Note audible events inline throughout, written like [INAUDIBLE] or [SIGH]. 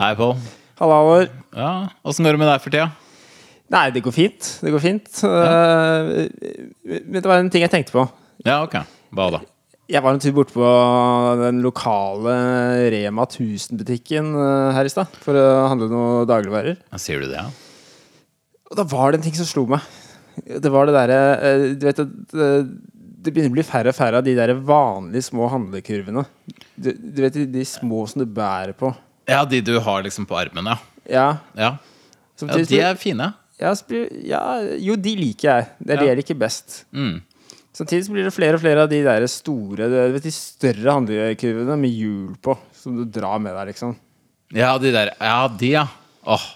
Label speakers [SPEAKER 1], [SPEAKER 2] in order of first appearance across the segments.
[SPEAKER 1] Hei, Pål.
[SPEAKER 2] Halla, Halvor.
[SPEAKER 1] Ja, Åssen går det med deg for tida?
[SPEAKER 2] Nei, det går fint. Det går fint. Eh, men det var en ting jeg tenkte på.
[SPEAKER 1] Ja, ok. Hva da?
[SPEAKER 2] Jeg var en tur borte på den lokale Rema 1000-butikken eh, her i stad for å handle noen dagligvarer.
[SPEAKER 1] Ja, Sier du det, ja?
[SPEAKER 2] Og da var det en ting som slo meg. Det var det derre eh, Du vet at eh, det begynner å bli færre og færre av de der vanlige små handlekurvene. Du, du vet de, de små som du bærer på.
[SPEAKER 1] Ja, de du har liksom på armen, ja.
[SPEAKER 2] Ja.
[SPEAKER 1] Ja,
[SPEAKER 2] Som
[SPEAKER 1] ja
[SPEAKER 2] til-
[SPEAKER 1] De er fine.
[SPEAKER 2] Ja, så blir- ja, jo, de liker jeg. Det er de
[SPEAKER 1] Ja.
[SPEAKER 2] jeg liker best.
[SPEAKER 1] Mm.
[SPEAKER 2] Samtidig så blir det flere og flere av de der store du vet, De større handlekurvene med hjul på, som du drar med deg, liksom.
[SPEAKER 1] Ja, de der. Ja, de, ja. Åh.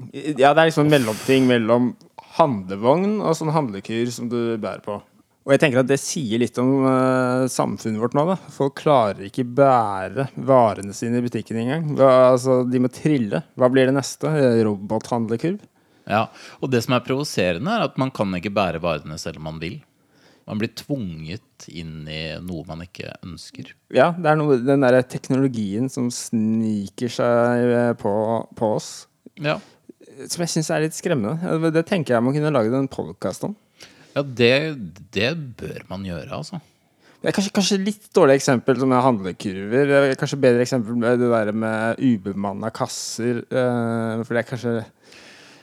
[SPEAKER 2] Ja, det er liksom en mellomting mellom handlevogn og sånn handlekur som du bærer på. Og jeg tenker at det sier litt om eh, samfunnet vårt nå, da. Folk klarer ikke bære varene sine i butikken engang. Hva, altså, de må trille. Hva blir det neste? Robothandlekurv?
[SPEAKER 1] Ja. Og det som er provoserende, er at man kan ikke bære varene selv om man vil. Man blir tvunget inn i noe man ikke ønsker.
[SPEAKER 2] Ja, det er noe, den der teknologien som sniker seg eh, på, på oss,
[SPEAKER 1] Ja,
[SPEAKER 2] som jeg syns er litt skremmende. Ja, det- Det tenker jeg man kunne laget en podkast om.
[SPEAKER 1] ja det, det bør man gjøre, altså.
[SPEAKER 2] Det er kanskje, kanskje litt dårlig eksempel som er handlekurver. Det er Kanskje bedre eksempel med det der med ubemanna kasser. eh, For det er kanskje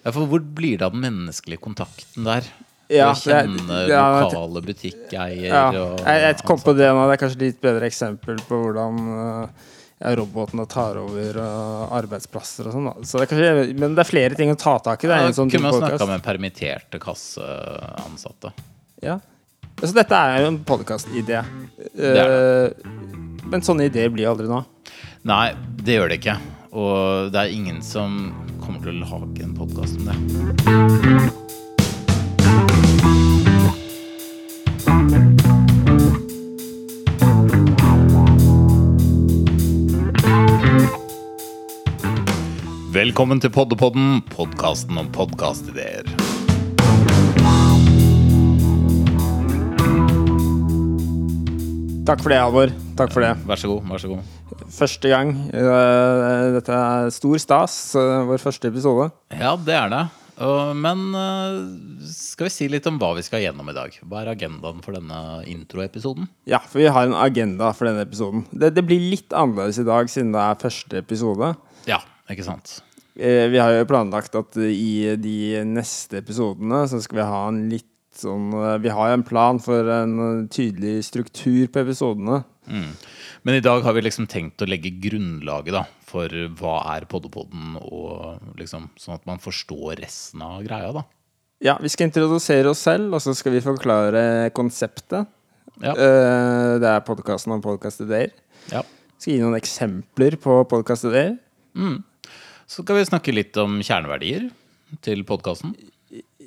[SPEAKER 1] Ja, for hvor blir det av den menneskelige kontakten der?
[SPEAKER 2] Ja,
[SPEAKER 1] Å kjenne
[SPEAKER 2] det er- ja, jeg-
[SPEAKER 1] lokale butikkeier
[SPEAKER 2] ja,
[SPEAKER 1] og
[SPEAKER 2] jeg, jeg kom på det nå. Det er kanskje litt bedre eksempel på hvordan eh, ja, robotene tar over eh, arbeidsplasser og sånn. da. Så det er kanskje, men det er flere ting å ta tak i. Det, er
[SPEAKER 1] Ja,
[SPEAKER 2] en sånn
[SPEAKER 1] kunne
[SPEAKER 2] type
[SPEAKER 1] man snakka
[SPEAKER 2] podcast.
[SPEAKER 1] med permitterte kasseansatte.
[SPEAKER 2] Ja. Altså, dette er jo en podkast-idé. Men sånne ideer blir aldri noe av.
[SPEAKER 1] Nei, det gjør det ikke. Og det er ingen som kommer til å lage en podkast om det. Velkommen til Poddepodden, podkasten om podkastideer.
[SPEAKER 2] Takk for det, Alvor. Takk for det.
[SPEAKER 1] Vær så god. vær så god
[SPEAKER 2] Første gang. eh, Dette er stor stas. eh, Vår første episode.
[SPEAKER 1] Ja, det er det. Og- Men eh, skal vi si litt om hva vi skal gjennom i dag? Hva er agendaen for denne introepisoden?
[SPEAKER 2] Ja, for vi har en agenda for denne episoden. Det, det blir litt annerledes i dag siden det er første episode.
[SPEAKER 1] Ja, ikke sant?
[SPEAKER 2] Eh, Vi har jo planlagt at eh, i de neste episodene så skal vi ha en litt sånn eh, Vi har jo en plan for en eh, tydelig struktur på episodene.
[SPEAKER 1] Mm. Men i dag har vi liksom tenkt å legge grunnlaget da, for hva er Poddepoden, og liksom, sånn at man forstår resten av greia. da.
[SPEAKER 2] Ja, vi skal introdusere oss selv, og så skal vi forklare konseptet.
[SPEAKER 1] Ja,
[SPEAKER 2] Eh, Det er podkasten om podkastideer.
[SPEAKER 1] ja.
[SPEAKER 2] Skal gi noen eksempler på podkastideer.
[SPEAKER 1] Mm. Så skal vi snakke litt om kjerneverdier til podkasten.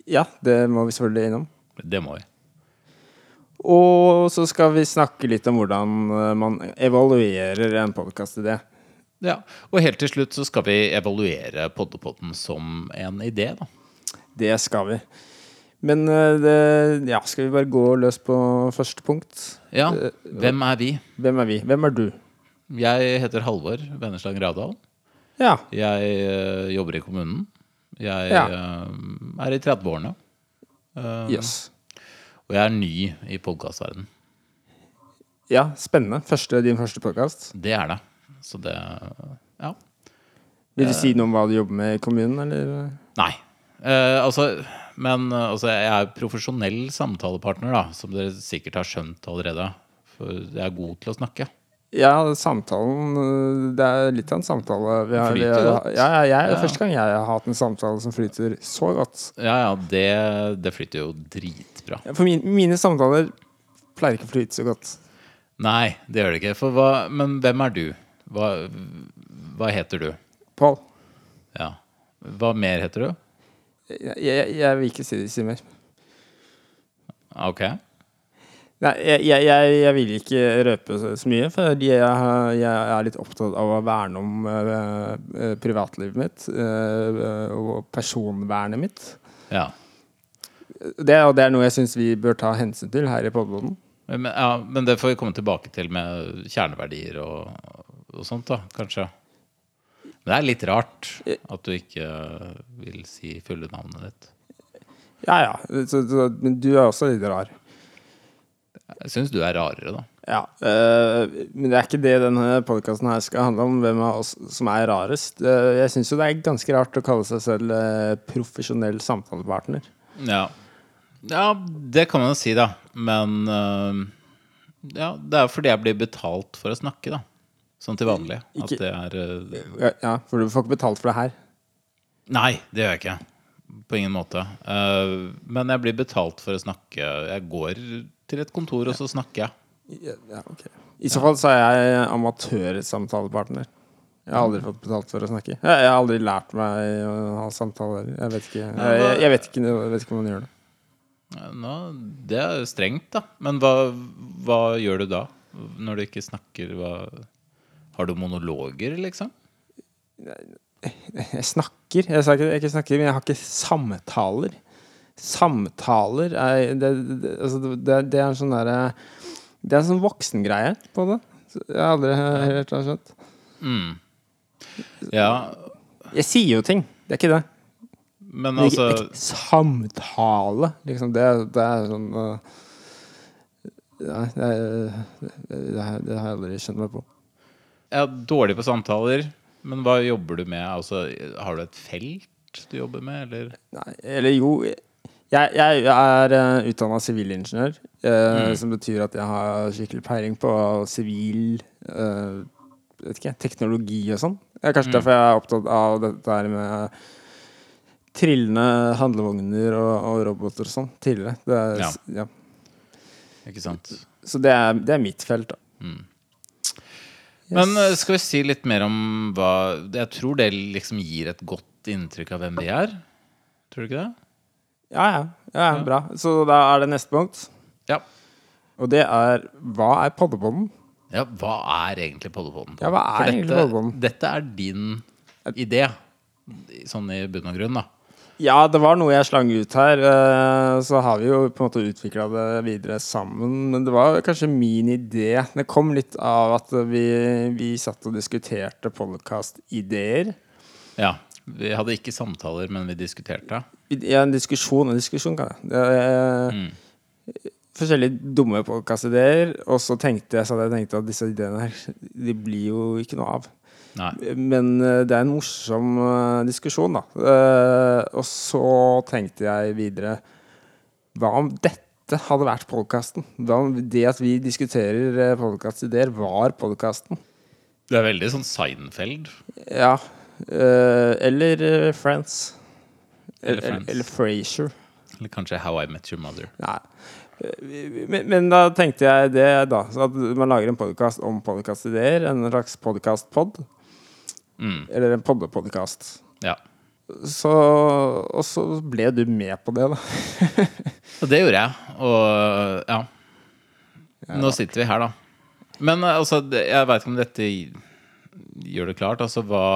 [SPEAKER 2] Ja, det må vi selvfølgelig innom.
[SPEAKER 1] Det må vi.
[SPEAKER 2] Og så skal vi snakke litt om hvordan eh, man evaluerer en podkastidé.
[SPEAKER 1] Ja, Og helt til slutt så skal vi evaluere Poddepoden som en idé. da.
[SPEAKER 2] Det skal vi. Men eh, det, ja, skal vi bare gå løs på første punkt?
[SPEAKER 1] Ja, Hvem er vi?
[SPEAKER 2] Hvem er vi? Hvem er du?
[SPEAKER 1] Jeg heter Halvor Venneslang Radal.
[SPEAKER 2] Ja.
[SPEAKER 1] Jeg eh, jobber i kommunen. Jeg
[SPEAKER 2] Ja.
[SPEAKER 1] eh, er i 30-årene. Eh,
[SPEAKER 2] Jøss.
[SPEAKER 1] Og jeg er ny i podkastverdenen.
[SPEAKER 2] Ja, spennende. Første, din første podkast.
[SPEAKER 1] Det er det. Så det Ja.
[SPEAKER 2] Vil du si noe om hva du jobber med i kommunen, eller?
[SPEAKER 1] Nei. Eh, altså, men eh, altså, jeg er profesjonell samtalepartner, da, som dere sikkert har skjønt allerede. For jeg er god til å snakke.
[SPEAKER 2] Ja, samtalen eh, Det er litt av en samtale. Vi har, vi
[SPEAKER 1] Flyter
[SPEAKER 2] har,
[SPEAKER 1] godt.
[SPEAKER 2] ja, ja, jeg,
[SPEAKER 1] Ja.
[SPEAKER 2] Første gang jeg har hatt en samtale som flyter så godt.
[SPEAKER 1] Ja, ja, det, det flyter jo dritbra.
[SPEAKER 2] For min, mine samtaler pleier ikke å flyte så godt.
[SPEAKER 1] Nei, det gjør det ikke. For hva, men hvem er du? Hva, hva heter du?
[SPEAKER 2] Pål,
[SPEAKER 1] Ja. Hva mer heter du?
[SPEAKER 2] jeg, jeg, jeg vil ikke si det, si mer.
[SPEAKER 1] Ah, Ok.
[SPEAKER 2] Nei, jeg, jeg, jeg, jeg vil ikke røpe så, så mye, fordi jeg, har- jeg er litt opptatt av å verne om eh, eh, privatlivet mitt eh, og personvernet mitt.
[SPEAKER 1] Ja.
[SPEAKER 2] Det, og det er noe jeg syns vi bør ta hensyn til her i podboden.
[SPEAKER 1] Men, ja, men det får vi komme tilbake til med kjerneverdier og, og sånt, da, kanskje. Men det er litt rart at du ikke vil si fulle navnet ditt.
[SPEAKER 2] Ja ja, så, så, men du er også litt rar.
[SPEAKER 1] Jeg syns du er rarere, da.
[SPEAKER 2] Ja, eh, Men det er ikke det denne podkasten her skal handle om, hvem av oss som er rarest. Eh, jeg syns jo det er ganske rart å kalle seg selv eh, profesjonell samtalepartner.
[SPEAKER 1] Ja, ja det kan man jo si, da. Men øh, ja, det er fordi jeg blir betalt for å snakke, da. Sånn til vanlig. At
[SPEAKER 2] Ikke-
[SPEAKER 1] det er øh,
[SPEAKER 2] Ja, ja, for du får ikke betalt for det her.
[SPEAKER 1] Nei, det gjør jeg ikke. På ingen måte. Eh, men jeg blir betalt for å snakke. Jeg går til et kontor, og så snakker jeg.
[SPEAKER 2] Ja, ok. I så fall så er jeg amatørsamtalepartner. Jeg har aldri fått betalt for å snakke. Jeg, jeg har aldri lært meg å ha samtaler. Jeg vet ikke, jeg, jeg, jeg vet ikke, jeg vet ikke hvordan man gjør det.
[SPEAKER 1] Nå, det er jo strengt, da. Men hva, hva gjør du da? Når du ikke snakker, hva Har du monologer, liksom?
[SPEAKER 2] Jeg snakker. Jeg sa ikke, jeg ikke snakker, men jeg har ikke samtaler. Samtaler er Det, det, altså, det, det er en sånn derre Det er en sånn voksengreie på det. Så Jeg har aldri helt har skjønt.
[SPEAKER 1] Ja,
[SPEAKER 2] Jeg sier jo ting. Det er ikke det.
[SPEAKER 1] men
[SPEAKER 2] Men ikke,
[SPEAKER 1] altså
[SPEAKER 2] ikke samtale, liksom. Det, det er sånn uh, Nei, det, det, det, har- det har jeg aldri skjønt meg på.
[SPEAKER 1] Jeg er dårlig på samtaler, men hva jobber du med? Altså, har du et felt du jobber med, eller?
[SPEAKER 2] Nei, eller jo Jeg, jeg er uh, utdanna sivilingeniør, eh, som betyr at jeg har skikkelig peiling på sivil eh, vet ikke, teknologi og sånn. Det er kanskje derfor jeg er opptatt av dette her med trillende handlevogner og, og roboter og sånn tidligere. Det er,
[SPEAKER 1] Ja.
[SPEAKER 2] Ja.
[SPEAKER 1] Ikke sant?
[SPEAKER 2] Så det er, det er mitt felt, da.
[SPEAKER 1] Men eh, skal vi si litt mer om hva Jeg tror det liksom gir et godt inntrykk av hvem vi er. Tror du ikke det?
[SPEAKER 2] Ja, ja. ja, ja. Bra. Så da er det neste punkt.
[SPEAKER 1] Ja.
[SPEAKER 2] Og det er Hva er paddebånden?
[SPEAKER 1] ja hva er egentlig Poddepodden?
[SPEAKER 2] Ja, hva er
[SPEAKER 1] For
[SPEAKER 2] egentlig
[SPEAKER 1] dette,
[SPEAKER 2] Poddepodden?
[SPEAKER 1] Dette er din idé, sånn i bunn og grunn, da.
[SPEAKER 2] Ja, det var noe jeg slang ut her. eh, Så har vi jo på en måte utvikla det videre sammen. Men det var kanskje min idé. Det kom litt av at vi, vi satt og diskuterte podkast-ideer.
[SPEAKER 1] Ja. Vi hadde ikke samtaler, men vi diskuterte.
[SPEAKER 2] Ja, en diskusjon. En diskusjon, kan jeg. Det er, Forskjellige dumme podkastideer. Og så tenkte jeg, så hadde jeg tenkt at disse ideene her, de blir jo ikke noe av.
[SPEAKER 1] Nei.
[SPEAKER 2] Men eh, det er en morsom eh, diskusjon, da. Eh, Og så tenkte jeg videre Hva om dette hadde vært podkasten? Hva om det at vi diskuterer eh, podkastideer, var podkasten?
[SPEAKER 1] Du er veldig sånn Seinfeld.
[SPEAKER 2] Ja. eh, Eller eh, Friends.
[SPEAKER 1] Eller
[SPEAKER 2] Eller, eller,
[SPEAKER 1] Friends.
[SPEAKER 2] eller Frasier.
[SPEAKER 1] Eller kanskje How I Met Your Mother.
[SPEAKER 2] Nei. Eh, Men, men da tenkte jeg det, da. så At man lager en podkast om podkastideer. En slags podkastpod.
[SPEAKER 1] Mm.
[SPEAKER 2] Eller en poddepodkast.
[SPEAKER 1] Ja.
[SPEAKER 2] Så, og så ble du med på det, da. [LAUGHS]
[SPEAKER 1] Og det gjorde jeg. Og ja. Nå sitter vi her, da. Men eh, altså, det- jeg veit ikke om dette gjør det klart. Altså, hva,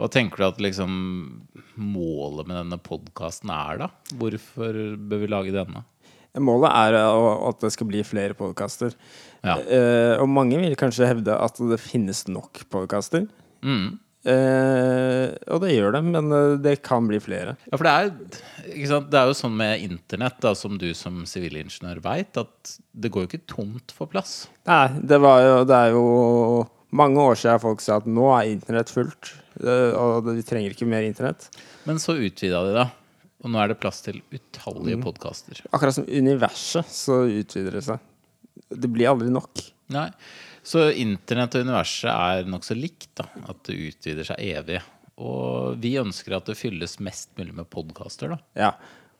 [SPEAKER 1] hva tenker du at liksom målet med denne podkasten er, da? Hvorfor bør vi lage denne?
[SPEAKER 2] Målet er eh, å- at det skal bli flere podkaster.
[SPEAKER 1] Ja.
[SPEAKER 2] Eh, og mange vil kanskje hevde at det finnes nok podkaster.
[SPEAKER 1] Mm.
[SPEAKER 2] Eh, og det gjør det, men eh, det kan bli flere.
[SPEAKER 1] Ja, for det er, ikke sant? det er jo sånn med internett, da, som du som sivilingeniør veit, at det går jo ikke tomt for plass.
[SPEAKER 2] Nei, det, var jo, det er jo mange år siden folk sa at nå er internett fullt, eh, og det- vi trenger ikke mer internett.
[SPEAKER 1] Men så utvida de, da. Og nå er det plass til utallige podkaster.
[SPEAKER 2] Akkurat som universet, så utvider det seg. Det blir aldri nok.
[SPEAKER 1] Nei. Så internett og universet er nokså likt, da. At det utvider seg evig. Og vi ønsker at det fylles mest mulig med podkaster, da.
[SPEAKER 2] Ja.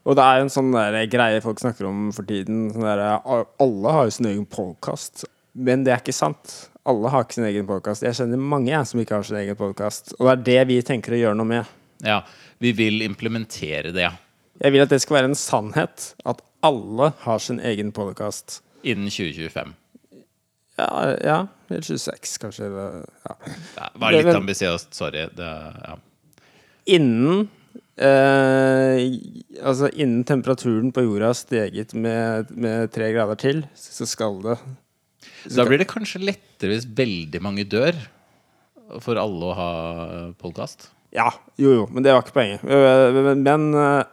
[SPEAKER 2] Og det er jo en sånn der greie folk snakker om for tiden. Sånn der, "A- alle har jo sin egen podkast, men det er ikke sant. Alle har ikke sin egen podkast. Jeg kjenner mange jeg, som ikke har sin egen podkast. Og det er det vi tenker å gjøre noe med.
[SPEAKER 1] Ja, vi vil implementere det
[SPEAKER 2] Jeg vil at det skal være en sannhet at alle har sin egen podkast.
[SPEAKER 1] innen 2025.
[SPEAKER 2] Ja, ja, eller 26, kanskje. Eller, ja.
[SPEAKER 1] Ja, Vær litt
[SPEAKER 2] Det er vel-
[SPEAKER 1] ambisiøst, sorry. Det, ja.
[SPEAKER 2] Innen eh, Altså innen temperaturen på jorda har steget med, med tre grader til, så skal det
[SPEAKER 1] Da blir det kanskje lettere hvis veldig mange dør. for alle å ha podkast.
[SPEAKER 2] Ja, jo jo, men det var ikke poenget. Øh, Men, men øh,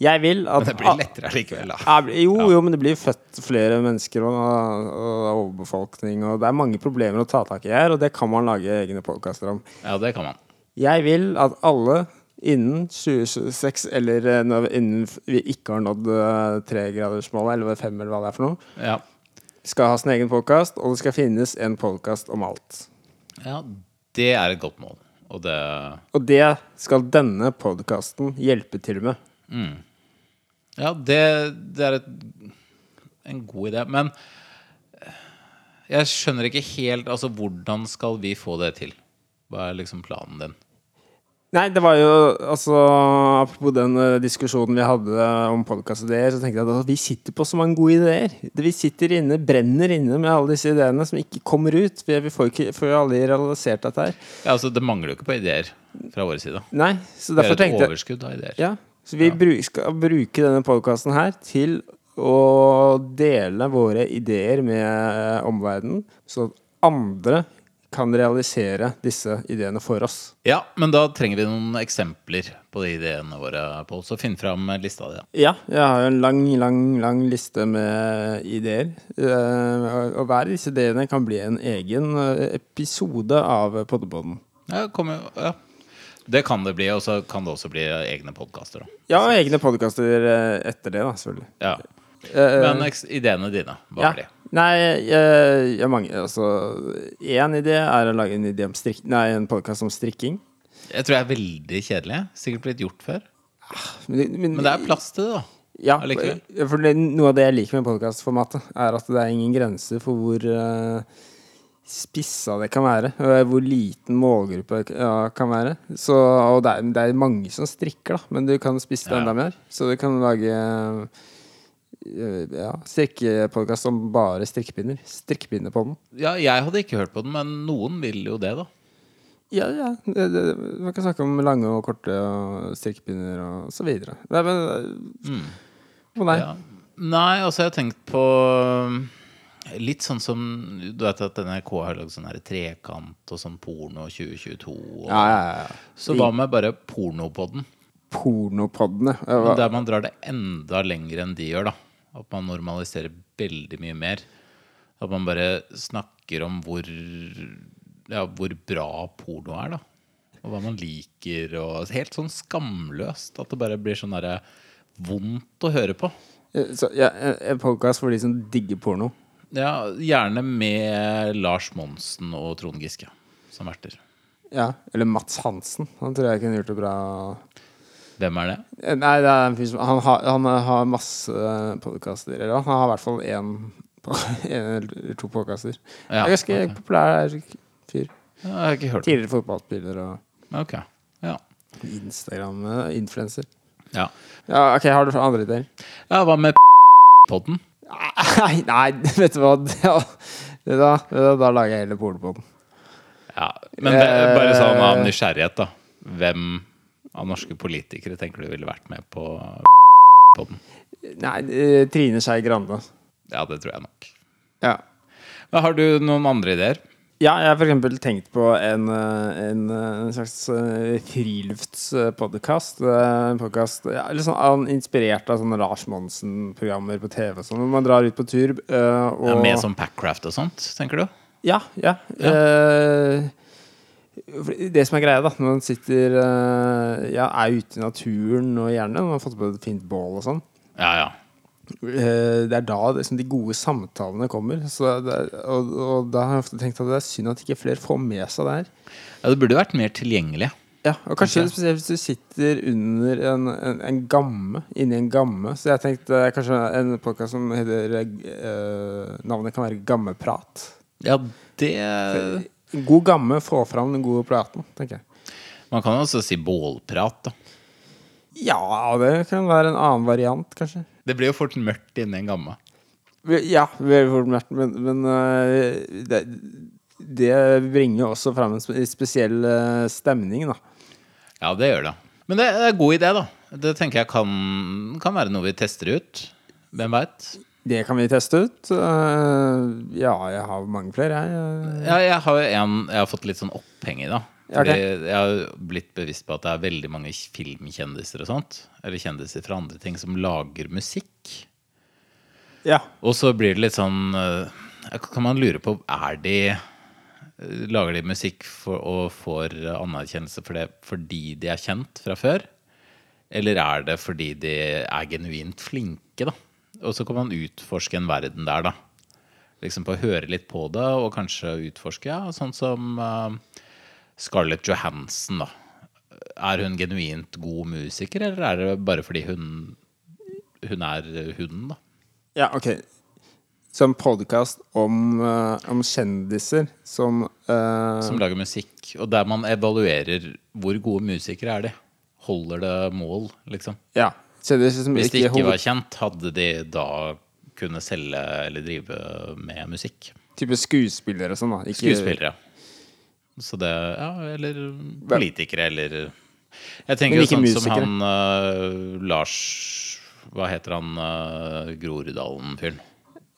[SPEAKER 2] jeg vil at
[SPEAKER 1] Det blir lettere allikevel, da.
[SPEAKER 2] Ja, det blir- jo, jo, men det blir født flere mennesker og, og overbefolkning, og det er mange problemer å ta tak i her, og det kan man lage egne podkaster om.
[SPEAKER 1] Ja, det kan man.
[SPEAKER 2] Jeg vil at alle innen 2026, eller eh, når vi- innen vi ikke har nådd eh, tregradersmålet, eller fem, eller hva det er for noe,
[SPEAKER 1] Ja,
[SPEAKER 2] skal ha sin egen podkast, og det skal finnes en podkast om alt.
[SPEAKER 1] ja det er et godt mål. Og det
[SPEAKER 2] Og det skal denne podkasten hjelpe til med.
[SPEAKER 1] Ja, det, det er et, en god idé. Men jeg skjønner ikke helt Altså, hvordan skal vi få det til? Hva er liksom planen din?
[SPEAKER 2] Nei, det var jo altså Apropos den eh, diskusjonen vi hadde eh, om podkastideer, så tenkte jeg at altså, vi sitter på så mange gode ideer. Det Vi sitter inne, brenner inne med alle disse ideene som ikke kommer ut. Vi, vi får ikke får jo aldri realisert dette her.
[SPEAKER 1] Ja, altså, det mangler jo ikke på ideer fra vår side.
[SPEAKER 2] Nei, så
[SPEAKER 1] Det er
[SPEAKER 2] derfor
[SPEAKER 1] et
[SPEAKER 2] tenkte jeg
[SPEAKER 1] overskudd av ideer.
[SPEAKER 2] ja, Så vi bru- skal bruke denne podkasten her til å dele våre ideer med eh, omverdenen, så at andre kan realisere disse ideene for oss.
[SPEAKER 1] Ja, men da trenger vi noen eksempler på de ideene våre, Pål. Så finn fram lista di. da.
[SPEAKER 2] Ja, jeg har jo en lang, lang, lang liste med ideer. Eh, og- og hver av disse ideene kan bli en egen eh, episode av Poddepodden.
[SPEAKER 1] Ja, kom, jo- ja. Det kan det bli, og så kan det også bli egne podkaster.
[SPEAKER 2] Ja, og egne podkaster etter det, da, selvfølgelig.
[SPEAKER 1] Ja.
[SPEAKER 2] Eh,
[SPEAKER 1] Men eks ideene dine, hva
[SPEAKER 2] ja.
[SPEAKER 1] er de?
[SPEAKER 2] Nei, eh, jeg, jeg mange, altså Én idé er å lage en, idé om strikk, nei, en podkast om strikking.
[SPEAKER 1] Jeg tror jeg er veldig kjedelig. Sikkert blitt gjort før.
[SPEAKER 2] Men,
[SPEAKER 1] Men det er plass til det, da.
[SPEAKER 2] Ja,
[SPEAKER 1] Allikevel.
[SPEAKER 2] for det, noe av det jeg liker med podkastformatet, er at det er ingen grenser for hvor eh, spissa det kan være. og eh, Hvor liten målgruppe det ja, kan være. Så, og det er, det er mange som strikker, da, men du kan spisse det
[SPEAKER 1] Ja, ja.
[SPEAKER 2] enda mer. Så du kan lage eh, ja, strikkepodkast om bare strikkepinner. Strikkepinner på den.
[SPEAKER 1] Ja, jeg hadde ikke hørt på den, men noen vil jo det, da.
[SPEAKER 2] Ja, ja. Det, det, man kan snakke om lange og korte og strikkepinner og så videre. Nei, men Å nei.
[SPEAKER 1] Mm. Ja. Nei, altså, jeg har tenkt på um, Litt sånn som Du vet at NRK har lagd sånn her trekant og sånn porno 2022. Og,
[SPEAKER 2] Ja, ja, ja.
[SPEAKER 1] Så hva med bare pornopodden?
[SPEAKER 2] Pornopoddene. Ja, hva-
[SPEAKER 1] Men Der man drar det enda lenger enn de gjør, da. At man normaliserer veldig mye mer. At man bare snakker om hvor Ja, hvor bra porno er, da. Og hva man liker, og Helt sånn skamløst. At det bare blir sånn derre vondt å høre på.
[SPEAKER 2] Eh, Så, ja, en- en podkast for de som digger porno.
[SPEAKER 1] Ja, gjerne med Lars Monsen og Trond Giske som verter.
[SPEAKER 2] Ja, Eller Mats Hansen. Han tror jeg kunne gjort det bra.
[SPEAKER 1] Hvem er det?
[SPEAKER 2] Eh, Nei, det er en fyr som Han har, han har masse podkaster. Eller han har i hvert fall én på- [LAUGHS] en eller to podkaster.
[SPEAKER 1] Ja,
[SPEAKER 2] Ja, ganske
[SPEAKER 1] ok.
[SPEAKER 2] populær fyr.
[SPEAKER 1] Ja, Jeg har ikke hørt det.
[SPEAKER 2] Tidligere fotballspiller og
[SPEAKER 1] Ok, ja.
[SPEAKER 2] Instagram-influencer.
[SPEAKER 1] ja.
[SPEAKER 2] Ja, ok, Har du andre ideer?
[SPEAKER 1] Ja, hva med podden?
[SPEAKER 2] Nei, [LAUGHS] nei, vet du hva Ja, vet du hva? Da, da lager jeg heller porno på den.
[SPEAKER 1] Ja, men det, er bare sånn av nysgjerrighet, da. Hvem av norske politikere tenker du ville vært med på podden?
[SPEAKER 2] Nei, eh, Trine Skei Grande.
[SPEAKER 1] Ja, det tror jeg nok.
[SPEAKER 2] Ja.
[SPEAKER 1] Men har du noen andre ideer?
[SPEAKER 2] Ja, jeg har for eksempel tenkt på en, eh, en, eh, en slags eh, friluftspodkast. En podkast ja, litt sånn an- inspirert av sånne Lars Monsen-programmer på TV og sånn. hvor Man drar ut på tur eh, og
[SPEAKER 1] Ja, med sånn Packcraft og sånt, tenker du?
[SPEAKER 2] Ja. ja, eh, for det som er greia, da, når man sitter eh, Ja, er ute i naturen og gjerne når man har fått på et fint bål og sånn.
[SPEAKER 1] Ja, ja.
[SPEAKER 2] Eh, det er da liksom, de gode samtalene kommer. Så det, er- og, og da har jeg ofte tenkt at det er synd at ikke flere får med seg det her.
[SPEAKER 1] ja det burde vært mer tilgjengelig.
[SPEAKER 2] Ja, og kanskje spesielt hvis du sitter under en, en, en gamme, inni en gamme. Så jeg tenkte eh, kanskje en podkast som heter eh, Navnet kan være Gammeprat.
[SPEAKER 1] Ja, det
[SPEAKER 2] En god gamme får fram den gode praten, tenker jeg.
[SPEAKER 1] Man kan også si bålprat, da.
[SPEAKER 2] Ja, det kan være en annen variant, kanskje.
[SPEAKER 1] Det blir jo fort mørkt inni en gamme.
[SPEAKER 2] Vi- Ja, veldig fort, Morten, men, men eh, det, det bringer jo også fram en spe- spesiell eh, stemning, da.
[SPEAKER 1] Ja, det gjør det. Men det er en god idé, da. Det tenker jeg kan, kan være noe vi tester ut. Hvem veit?
[SPEAKER 2] Det kan vi teste ut. Eh, ja, jeg har mange flere, jeg.
[SPEAKER 1] Ja, jeg har jo en jeg har fått litt sånn oppheng i, da.
[SPEAKER 2] Ja, ok.
[SPEAKER 1] Fordi Jeg har blitt bevisst på at det er veldig mange filmkjendiser og sånt. Eller kjendiser fra andre ting som lager musikk.
[SPEAKER 2] Ja.
[SPEAKER 1] Og så blir det litt sånn eh, Kan man lure på Er de eh, Lager de musikk for, og får anerkjennelse for det fordi de er kjent fra før? Eller er det fordi de er genuint flinke, da? Og så kan man utforske en verden der, da. Liksom på å høre litt på det og kanskje utforske. Ja, sånn som eh, Scarlett Johansen, da. Er hun genuint god musiker, eller er det bare fordi hun, hun er hunden, da?
[SPEAKER 2] Ja, ok. Så en podkast om, eh, om kjendiser som eh,
[SPEAKER 1] som lager musikk, og der man evaluerer hvor gode musikere er de. Holder det mål, liksom?
[SPEAKER 2] Ja. Kjendiser som
[SPEAKER 1] Hvis de
[SPEAKER 2] ikke
[SPEAKER 1] ikke
[SPEAKER 2] hoved-
[SPEAKER 1] var kjent, hadde de da kunne selge eller drive med musikk?
[SPEAKER 2] Type skuespillere og sånn, da. Ikke-
[SPEAKER 1] Skuespillere. Så det Ja, eller politikere, eller Jeg tenker
[SPEAKER 2] Men
[SPEAKER 1] jo
[SPEAKER 2] ikke
[SPEAKER 1] sånn som
[SPEAKER 2] musikere.
[SPEAKER 1] han øh, Lars Hva heter han øh, Groruddalen-fyren?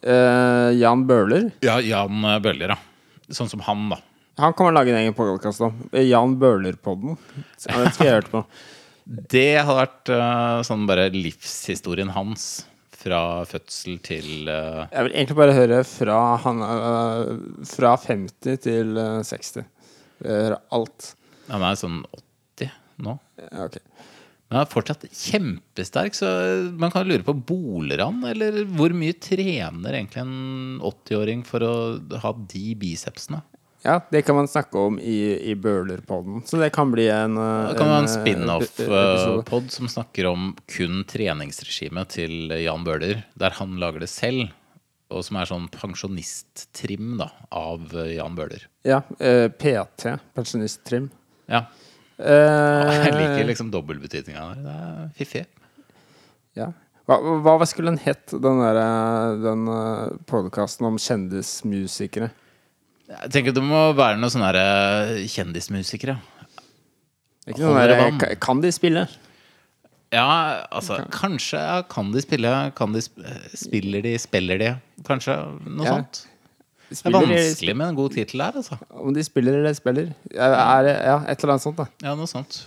[SPEAKER 2] Eh, Jan Bøhler.
[SPEAKER 1] Ja, Jan Bøhler, ja. Sånn som han, da.
[SPEAKER 2] Han kan man lage en egen podkast om. Eh, Jan Bøhler-podden. Så Den skal jeg høre på.
[SPEAKER 1] Det hadde vært eh, sånn bare livshistorien hans. Fra fødsel til eh,
[SPEAKER 2] Jeg vil egentlig bare høre fra, han, eh, fra 50 til eh, 60. Jeg vil Høre alt.
[SPEAKER 1] Han er sånn 80 nå.
[SPEAKER 2] Ja, ok.
[SPEAKER 1] Men han er fortsatt kjempesterk, så man kan lure på boler han? Eller hvor mye trener egentlig en 80-åring for å ha de bicepsene?
[SPEAKER 2] Ja, det kan man snakke om i, i Bøhler-podden. Så det kan bli en eh,
[SPEAKER 1] Da kan man ha en
[SPEAKER 2] eh, episode.
[SPEAKER 1] spin-off-pod som snakker om kun treningsregimet til Jan Bøhler, der han lager det selv, og som er sånn pensjonisttrim da, av eh, Jan Bøhler.
[SPEAKER 2] Ja. eh, PT. Pensjonisttrim.
[SPEAKER 1] Ja,
[SPEAKER 2] Eh,
[SPEAKER 1] Jeg liker liksom dobbeltbetydninga der. Det er fiffig.
[SPEAKER 2] ja. hva, hva hva skulle den hett, den, der, eh, den eh, podcasten om kjendismusikere?
[SPEAKER 1] Jeg tenker det må være noen sånne her, eh, kjendismusikere.
[SPEAKER 2] Ikke den
[SPEAKER 1] Holder
[SPEAKER 2] der,
[SPEAKER 1] det vann?
[SPEAKER 2] eh, ka- Kan de spille?
[SPEAKER 1] Ja, altså Kanskje ja, kan de spille? Kan de sp eh, spiller de? Spiller de? Kanskje noe
[SPEAKER 2] Ja.
[SPEAKER 1] sånt. Det er
[SPEAKER 2] spiller eller-
[SPEAKER 1] vanskelig med en god tittel der, altså.
[SPEAKER 2] Om de spiller eller spiller? Ja, er, det- ja et eller annet sånt, da.
[SPEAKER 1] Ja, noe sånt.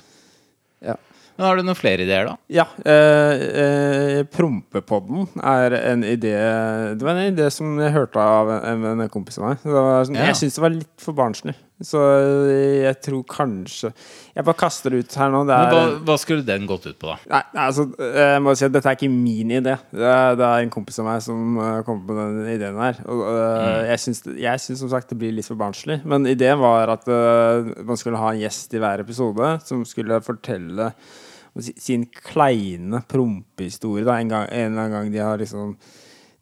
[SPEAKER 2] Ja.
[SPEAKER 1] Men har du noen flere ideer, da?
[SPEAKER 2] Ja, eh, eh, Prompepodden er en idé Det var en idé som jeg hørte av en, en kompis av meg. Det var sånn,
[SPEAKER 1] Ja.
[SPEAKER 2] Jeg syns det var litt for barnslig, så eh, jeg tror kanskje Jeg bare kaster det ut her nå. Det
[SPEAKER 1] Men
[SPEAKER 2] er,
[SPEAKER 1] hva, hva skulle den gått ut på, da?
[SPEAKER 2] nei, nei, altså, eh, jeg må si at dette er ikke min idé. Det er, det er en kompis av meg som eh, kom på den ideen her. Og, eh,
[SPEAKER 1] Mm.
[SPEAKER 2] jeg, syns, det- jeg syns som sagt det blir litt for barnslig, men ideen var at eh, man skulle ha en gjest i hver episode som skulle fortelle si- sin kleine prompehistorie. Da. En, gang, en eller annen gang de har liksom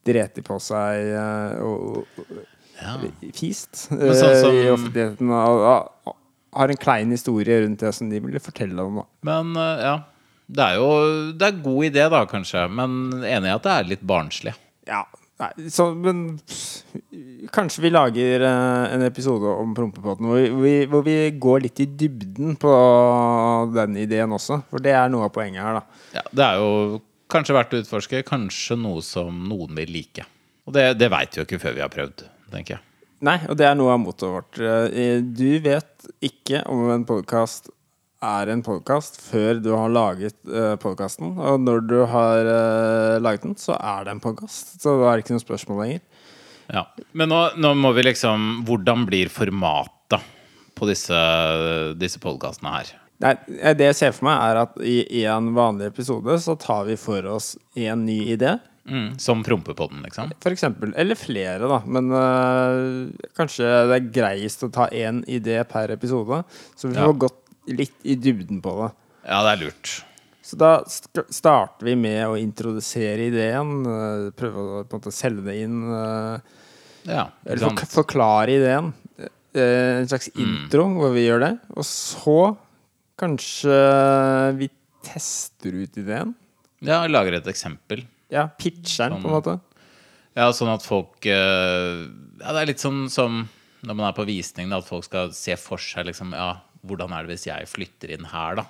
[SPEAKER 2] dreti på seg eh, og, og,
[SPEAKER 1] Ja.
[SPEAKER 2] og fist
[SPEAKER 1] Men sånn
[SPEAKER 2] eh,
[SPEAKER 1] som-
[SPEAKER 2] i offentligheten. Og, og, og har en klein historie rundt det som de ville fortelle om. Da.
[SPEAKER 1] Men eh, ja. Det er jo Det er god idé, da, kanskje. Men enig i at det er litt barnslig.
[SPEAKER 2] Ja, nei, så, men pff, kanskje vi lager eh, en episode om prompepodden hvor, vi- vi- hvor vi går litt i dybden på den ideen også. For det er noe av poenget her, da.
[SPEAKER 1] Ja, det er jo kanskje verdt å utforske. Kanskje noe som noen vil like. Og det, det veit vi jo ikke før vi har prøvd, tenker jeg.
[SPEAKER 2] Nei, og det er noe av mottoet vårt. Eh, Du vet ikke om en podkast er en podkast før du har laget podkasten. Og når du har eh, laget den, så er det en podkast. Så da er det ikke noe spørsmål lenger.
[SPEAKER 1] Ja. Men nå, nå må vi liksom Hvordan blir formatet på disse, disse podkastene her?
[SPEAKER 2] Nei, eh, det jeg ser for meg, er at i en vanlig episode så tar vi for oss én ny idé.
[SPEAKER 1] Mm. Som Prompepodden, liksom?
[SPEAKER 2] For eksempel. Eller flere, da. Men øh, kanskje det er greiest å ta én idé per episode. Så vi
[SPEAKER 1] Ja.
[SPEAKER 2] får gått litt i dybden på det.
[SPEAKER 1] Ja, det er lurt.
[SPEAKER 2] Så da sk- starter vi med å introdusere ideen. øh, prøve å på en måte selge det inn. øh,
[SPEAKER 1] Ja, ikke
[SPEAKER 2] eller fork
[SPEAKER 1] sant? Mm.
[SPEAKER 2] forklare ideen. Eh, en slags intro hvor vi gjør det. Og så kanskje vi tester ut ideen.
[SPEAKER 1] ja lager et eksempel.
[SPEAKER 2] Ja, pitcher den, på en måte.
[SPEAKER 1] Ja, sånn at folk eh, Ja, det er litt sånn som når man er på visning, da, at folk skal se for seg liksom Ja, hvordan er det hvis jeg flytter inn her, da?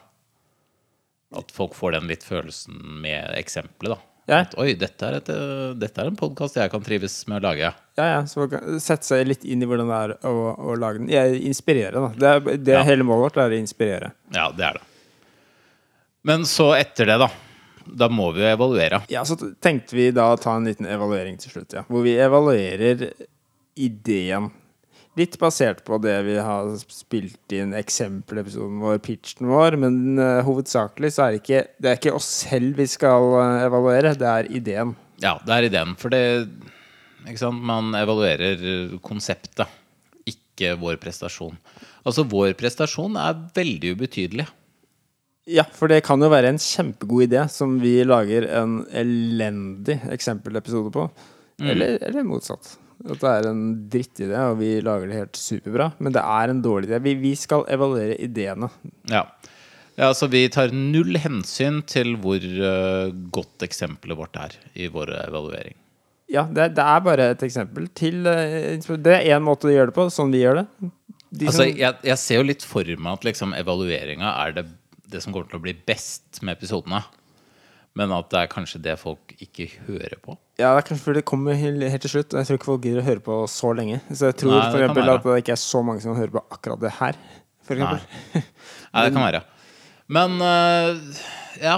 [SPEAKER 1] At folk får den litt følelsen med eksempelet, da.
[SPEAKER 2] Ja.
[SPEAKER 1] At, Oi, dette er, et, øh, dette er en podkast jeg kan trives med å lage.
[SPEAKER 2] Ja, ja, så man kan sette seg litt inn i hvordan det er å, å lage den. Jeg inspirere, da. Det, er, det er
[SPEAKER 1] Ja.
[SPEAKER 2] hele målet vårt, er å inspirere.
[SPEAKER 1] Ja, det er det. Men så etter det, da. Da må vi jo evaluere.
[SPEAKER 2] Ja, så t- tenkte vi da å ta en liten evaluering til slutt, ja. Hvor vi evaluerer ideen. Litt basert på det vi har spilt inn, eksempelepisoden vår, pitchen vår. Men eh, hovedsakelig så er det ikke Det er ikke oss selv vi skal eh, evaluere, det er ideen.
[SPEAKER 1] Ja, det er ideen. For det ikke sant? Man evaluerer konseptet, ikke vår prestasjon. Altså, vår prestasjon er veldig ubetydelig.
[SPEAKER 2] Ja, for det kan jo være en kjempegod idé som vi lager en elendig eksempelepisode på.
[SPEAKER 1] Mm.
[SPEAKER 2] Eller, eller motsatt. At det er en drittidé, og vi lager det helt superbra. Men det er en dårlig idé. Vi, vi skal evaluere ideene.
[SPEAKER 1] Ja. ja, altså vi tar null hensyn til hvor eh, godt eksempelet vårt er i vår evaluering.
[SPEAKER 2] Ja, det, er- det er bare et eksempel til eh, inspir- Det er én måte å gjøre det på, sånn vi gjør det. De
[SPEAKER 1] Altså,
[SPEAKER 2] som,
[SPEAKER 1] jeg, jeg ser jo litt for meg at liksom, evalueringa er det, det som kommer til å bli best med episodene. Men at det er kanskje det folk ikke hører på.
[SPEAKER 2] ja, det er kanskje fordi det kommer hel- helt til slutt. og Jeg tror ikke folk gidder å høre på så lenge. Så jeg tror
[SPEAKER 1] Nei, det
[SPEAKER 2] for
[SPEAKER 1] kan
[SPEAKER 2] eksempel
[SPEAKER 1] være.
[SPEAKER 2] at det ikke er så mange som hører på akkurat det her. For
[SPEAKER 1] Nei.
[SPEAKER 2] eksempel.
[SPEAKER 1] Nei, det kan være. Men eh, ja,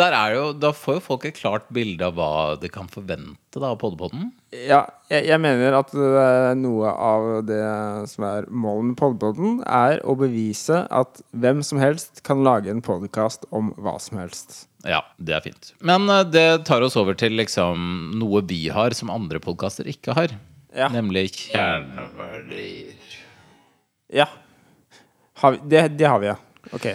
[SPEAKER 1] der er jo, da får jo folk et klart bilde av hva de kan forvente da, av Podpodden.
[SPEAKER 2] Ja, jeg, jeg mener at eh, noe av det som er målet med podpodden, er å bevise at hvem som helst kan lage en podkast om hva som helst.
[SPEAKER 1] Ja, det er fint. Men eh, det tar oss over til liksom, noe vi har som andre podkaster ikke har.
[SPEAKER 2] Ja.
[SPEAKER 1] Nemlig kjerneverdier.
[SPEAKER 2] Ja. Har vi, det, det har vi, ja. Ok.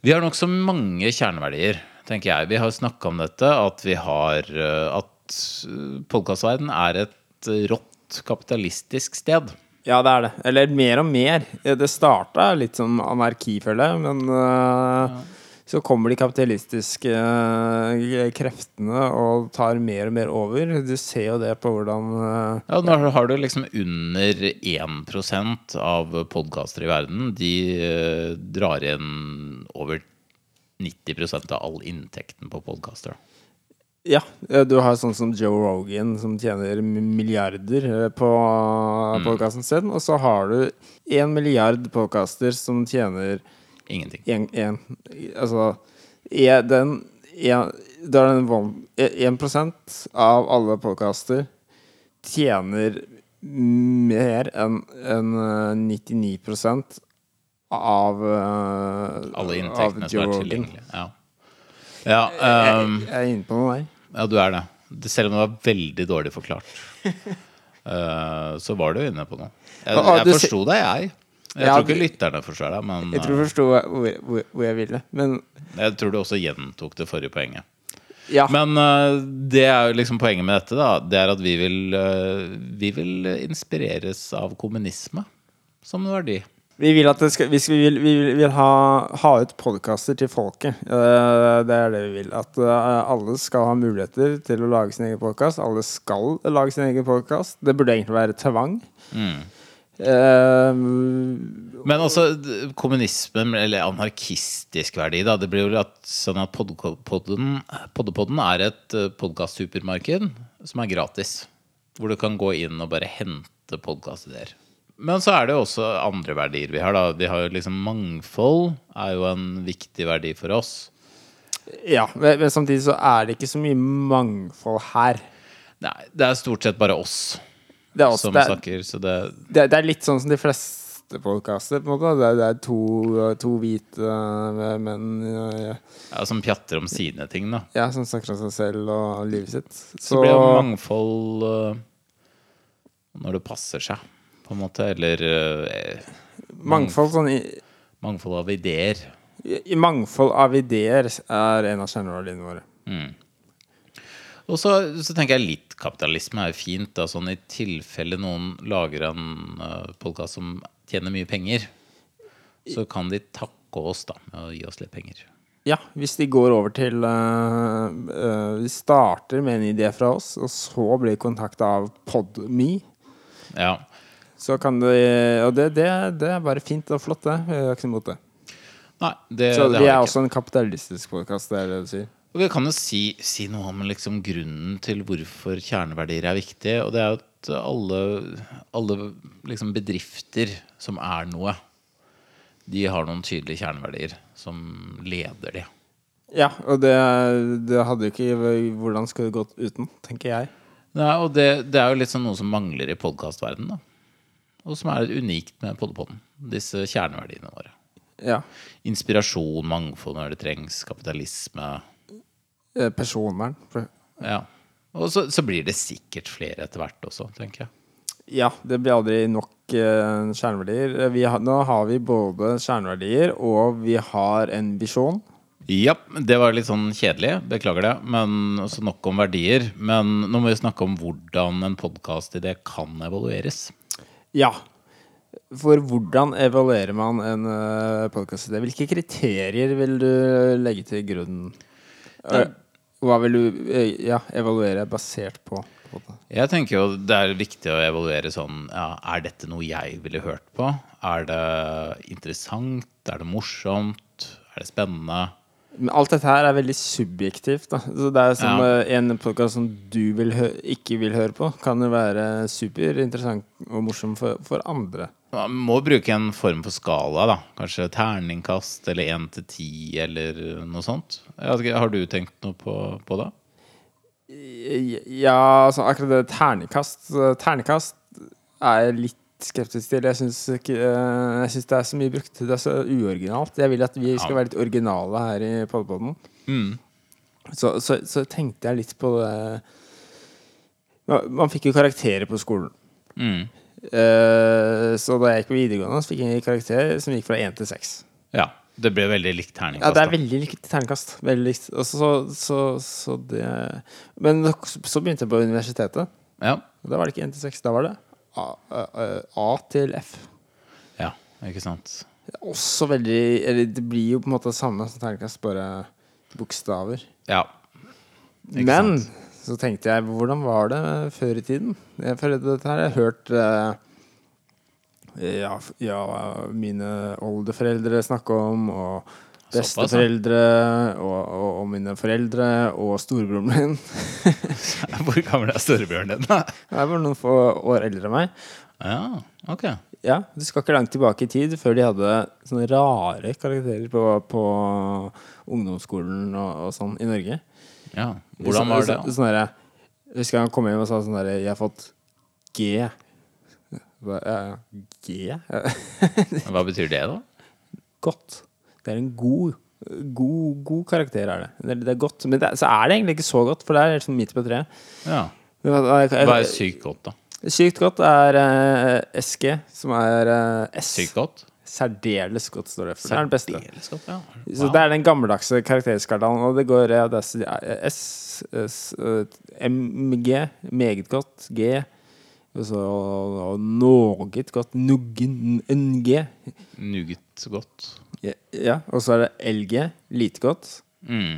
[SPEAKER 1] Vi har nokså mange kjerneverdier, tenker jeg. Vi har snakka om dette, at vi har eh, At podkastverdenen er et eh, rått kapitalistisk sted.
[SPEAKER 2] Ja, det er det. Eller mer og mer. Det starta litt som anarki, føler jeg, men øh, så kommer de kapitalistiske øh, kreftene og tar mer og mer over. Du ser jo det på hvordan øh,
[SPEAKER 1] Ja, nå har- har du liksom under 1 av podkaster i verden. De eh, drar inn over 90 av all inntekten på podkaster.
[SPEAKER 2] Ja, du har sånn som Joe Rogan som tjener m- milliarder eh, på
[SPEAKER 1] Mm.
[SPEAKER 2] podkasten sin, og så har du én milliard podkaster som tjener
[SPEAKER 1] Ingenting.
[SPEAKER 2] en, en, Altså er den en, Da er den von- en- 1 av alle podkaster tjener mer enn enn, eh, 99 av eh,
[SPEAKER 1] Alle
[SPEAKER 2] av
[SPEAKER 1] inntektene som
[SPEAKER 2] Joe
[SPEAKER 1] er
[SPEAKER 2] Rogan.
[SPEAKER 1] tilgjengelige. Ja. Ja, ehm,
[SPEAKER 2] Jeg er inne på noe der.
[SPEAKER 1] ja, du er det. Det- Selv om det var veldig dårlig
[SPEAKER 2] [LAUGHS]
[SPEAKER 1] forklart, Eh, så var du inne på noe. Jeg,
[SPEAKER 2] Ah,
[SPEAKER 1] jeg
[SPEAKER 2] du ser-
[SPEAKER 1] forsto deg, jeg. Jeg
[SPEAKER 2] Ja,
[SPEAKER 1] tror ikke lytterne forstår deg, men
[SPEAKER 2] Jeg tror jeg
[SPEAKER 1] eh,
[SPEAKER 2] forsto hvor, hvor, hvor jeg ville. Men
[SPEAKER 1] jeg tror du også gjentok det forrige poenget.
[SPEAKER 2] ja.
[SPEAKER 1] Men eh, det er jo liksom poenget med dette, da. Det er at vi vil, eh, vi vil inspireres av kommunisme som en verdi.
[SPEAKER 2] vi vil at det skal hvis Vi vil, vi vil, vil ha, ha ut podkaster til folket. Eh, det er det vi vil. At eh, alle skal ha muligheter til å lage sin egen podkast. Alle skal lage sin egen podkast. Det burde egentlig være tvang.
[SPEAKER 1] Mm.
[SPEAKER 2] Eh,
[SPEAKER 1] Men altså, d- kommunismen, eller anarkistisk verdi, da, det blir jo at, sånn at Poddepodden Poddepodden er et eh, podcast-supermarked som er gratis. Hvor du kan gå inn og bare hente podkast-ideer. Men så er det jo også andre verdier vi har. da. Vi har jo liksom Mangfold er jo en viktig verdi for oss.
[SPEAKER 2] ja, men, men samtidig så er det ikke så mye mangfold her.
[SPEAKER 1] Nei, det er stort sett bare oss
[SPEAKER 2] Det er,
[SPEAKER 1] som
[SPEAKER 2] også, Altså, det, er,
[SPEAKER 1] snakker, så det
[SPEAKER 2] det, er- det er litt sånn som de fleste podkaster, på en måte. Det er, det er to, to hvite eh, menn eh,
[SPEAKER 1] ja, Som pjatter om sine ting, da.
[SPEAKER 2] Ja, som snakker om seg selv og livet sitt. Så,
[SPEAKER 1] Så blir det mangfold eh, når det passer seg, på en måte. Eller eh,
[SPEAKER 2] mangfold, sånn i,
[SPEAKER 1] mangfold av ideer.
[SPEAKER 2] i mangfold av ideer er en av kjerneverdiene våre.
[SPEAKER 1] Og så, så tenker jeg litt kapitalisme er jo fint, da, sånn i tilfelle noen lager en uh, podkast som tjener mye penger. Så kan de takke oss da med å gi oss litt penger.
[SPEAKER 2] Ja, hvis de går over til øh, øh, De starter med en idé fra oss, og så blir kontakta av PodMe.
[SPEAKER 1] Ja.
[SPEAKER 2] Så kan de Og det, det, det er bare fint og flott, det. Jeg har ikke noe imot det.
[SPEAKER 1] Nei, det,
[SPEAKER 2] Så
[SPEAKER 1] det
[SPEAKER 2] vi
[SPEAKER 1] har jeg
[SPEAKER 2] er
[SPEAKER 1] ikke.
[SPEAKER 2] også en kapitalistisk podkast, det er det du sier.
[SPEAKER 1] Og vi kan jo si, si noe om liksom grunnen til hvorfor kjerneverdier er viktig. Og det er jo at alle, alle liksom bedrifter som er noe, de har noen tydelige kjerneverdier som leder de.
[SPEAKER 2] Ja, og det, det hadde jo ikke Hvordan skulle det gått uten, tenker jeg.
[SPEAKER 1] Nei, og det, det er jo litt sånn noe som mangler i podkastverdenen, da. Og som er unikt med Poddepodden. Disse kjerneverdiene våre.
[SPEAKER 2] Ja.
[SPEAKER 1] Inspirasjon, mangfold når det trengs, kapitalisme.
[SPEAKER 2] Eh, Personvern. For-
[SPEAKER 1] Ja. Og så, så blir det sikkert flere etter hvert også, tenker jeg.
[SPEAKER 2] Ja, det blir aldri nok eh, kjerneverdier. Eh, Vi har, nå har vi både kjerneverdier, og vi har en visjon.
[SPEAKER 1] Ja, det var litt sånn kjedelig. Beklager det. Men også nok om verdier. Men nå må vi snakke om hvordan en podkastidé kan evalueres.
[SPEAKER 2] Ja. For hvordan evaluerer man en uh, podkastidé? Hvilke kriterier vil du legge til grunn? Eh, Hva vil du eh, ja, evaluere basert på? på en måte?
[SPEAKER 1] Jeg tenker jo det er viktig å evaluere sånn ja, Er dette noe jeg ville hørt på? Er det interessant? Er det morsomt? Er det spennende?
[SPEAKER 2] Men alt dette her er veldig subjektivt. Da. Så det er som
[SPEAKER 1] Ja.
[SPEAKER 2] eh, En podkast som du vil hø ikke vil høre på, kan jo være superinteressant og morsom for, for andre.
[SPEAKER 1] Man må bruke en form for skala, da. Kanskje terningkast eller én til ti eller noe sånt. Jeg vet ikke, Har du tenkt noe på, på det?
[SPEAKER 2] Ja, altså akkurat det ternekast Ternekast er jeg litt skeptisk til. Jeg syns ikke eh, Jeg synes det er så mye brukt. Det er så uoriginalt. Jeg vil at vi skal
[SPEAKER 1] Ja.
[SPEAKER 2] være litt originale her i podpoden.
[SPEAKER 1] Mm.
[SPEAKER 2] Så, så, så tenkte jeg litt på det Man, man fikk jo karakterer på skolen.
[SPEAKER 1] Mm.
[SPEAKER 2] Eh, så da jeg gikk på videregående, så fikk jeg en karakter som gikk fra én til seks.
[SPEAKER 1] Ja. Det ble veldig likt
[SPEAKER 2] Ja,
[SPEAKER 1] terningkast.
[SPEAKER 2] det er
[SPEAKER 1] da.
[SPEAKER 2] veldig likt ternekast. Veldig likt. Og så, så, så det Men så begynte jeg på universitetet.
[SPEAKER 1] Ja.
[SPEAKER 2] Og Da var det ikke 1 til 6, da var det A, A, A- A til F.
[SPEAKER 1] Ja, ikke sant.
[SPEAKER 2] Det er også veldig Eller det blir jo på en måte det samme som terningkast, bare bokstaver.
[SPEAKER 1] Ja. Ikke
[SPEAKER 2] Men så tenkte jeg, hvordan var det før i tiden? Eh, For dette her har jeg hørt eh, ja, f- ja, mine oldeforeldre snakke om, og
[SPEAKER 1] Såpass,
[SPEAKER 2] besteforeldre, og, og, og mine foreldre, og storebroren min.
[SPEAKER 1] [LAUGHS]
[SPEAKER 2] [LAUGHS]
[SPEAKER 1] Hvor gammel er storebjørnen din, da?
[SPEAKER 2] Han er bare noen få år eldre enn meg.
[SPEAKER 1] Ja, ok.
[SPEAKER 2] Ja, du skal ikke langt tilbake i tid før de hadde sånne rare karakterer på, på ungdomsskolen og, og sånn i Norge.
[SPEAKER 1] Ja. Hvordan var det?
[SPEAKER 2] Så, sånn derre- jeg husker han kom hjem og sa sånn derre Jeg har fått G. Ba, ja, G? [LAUGHS]
[SPEAKER 1] Hva betyr det, da?
[SPEAKER 2] godt. Det er en god God, god karakter er det. Det er, det er godt. Men det, er- så er det egentlig ikke så godt, for det er helt sånn midt på treet.
[SPEAKER 1] Ja.
[SPEAKER 2] Men hva- jeg- jeg-
[SPEAKER 1] Hva er sykt godt, da?
[SPEAKER 2] Sykt godt er eh, SG, som er eh, S.
[SPEAKER 1] Sykt godt?
[SPEAKER 2] Særdeles godt, står det. For det er den beste.
[SPEAKER 1] Særdeles godt, ja.
[SPEAKER 2] Så
[SPEAKER 1] Wow.
[SPEAKER 2] det er den gammeldagse karakterskalaen, og det går ja, det er, s- ja, S, S eh, MG, meget godt, G og så og noe godt, nuggen, NG.
[SPEAKER 1] Nuget godt.
[SPEAKER 2] Ja, Ja, og så er det LG, lite godt.
[SPEAKER 1] Mm.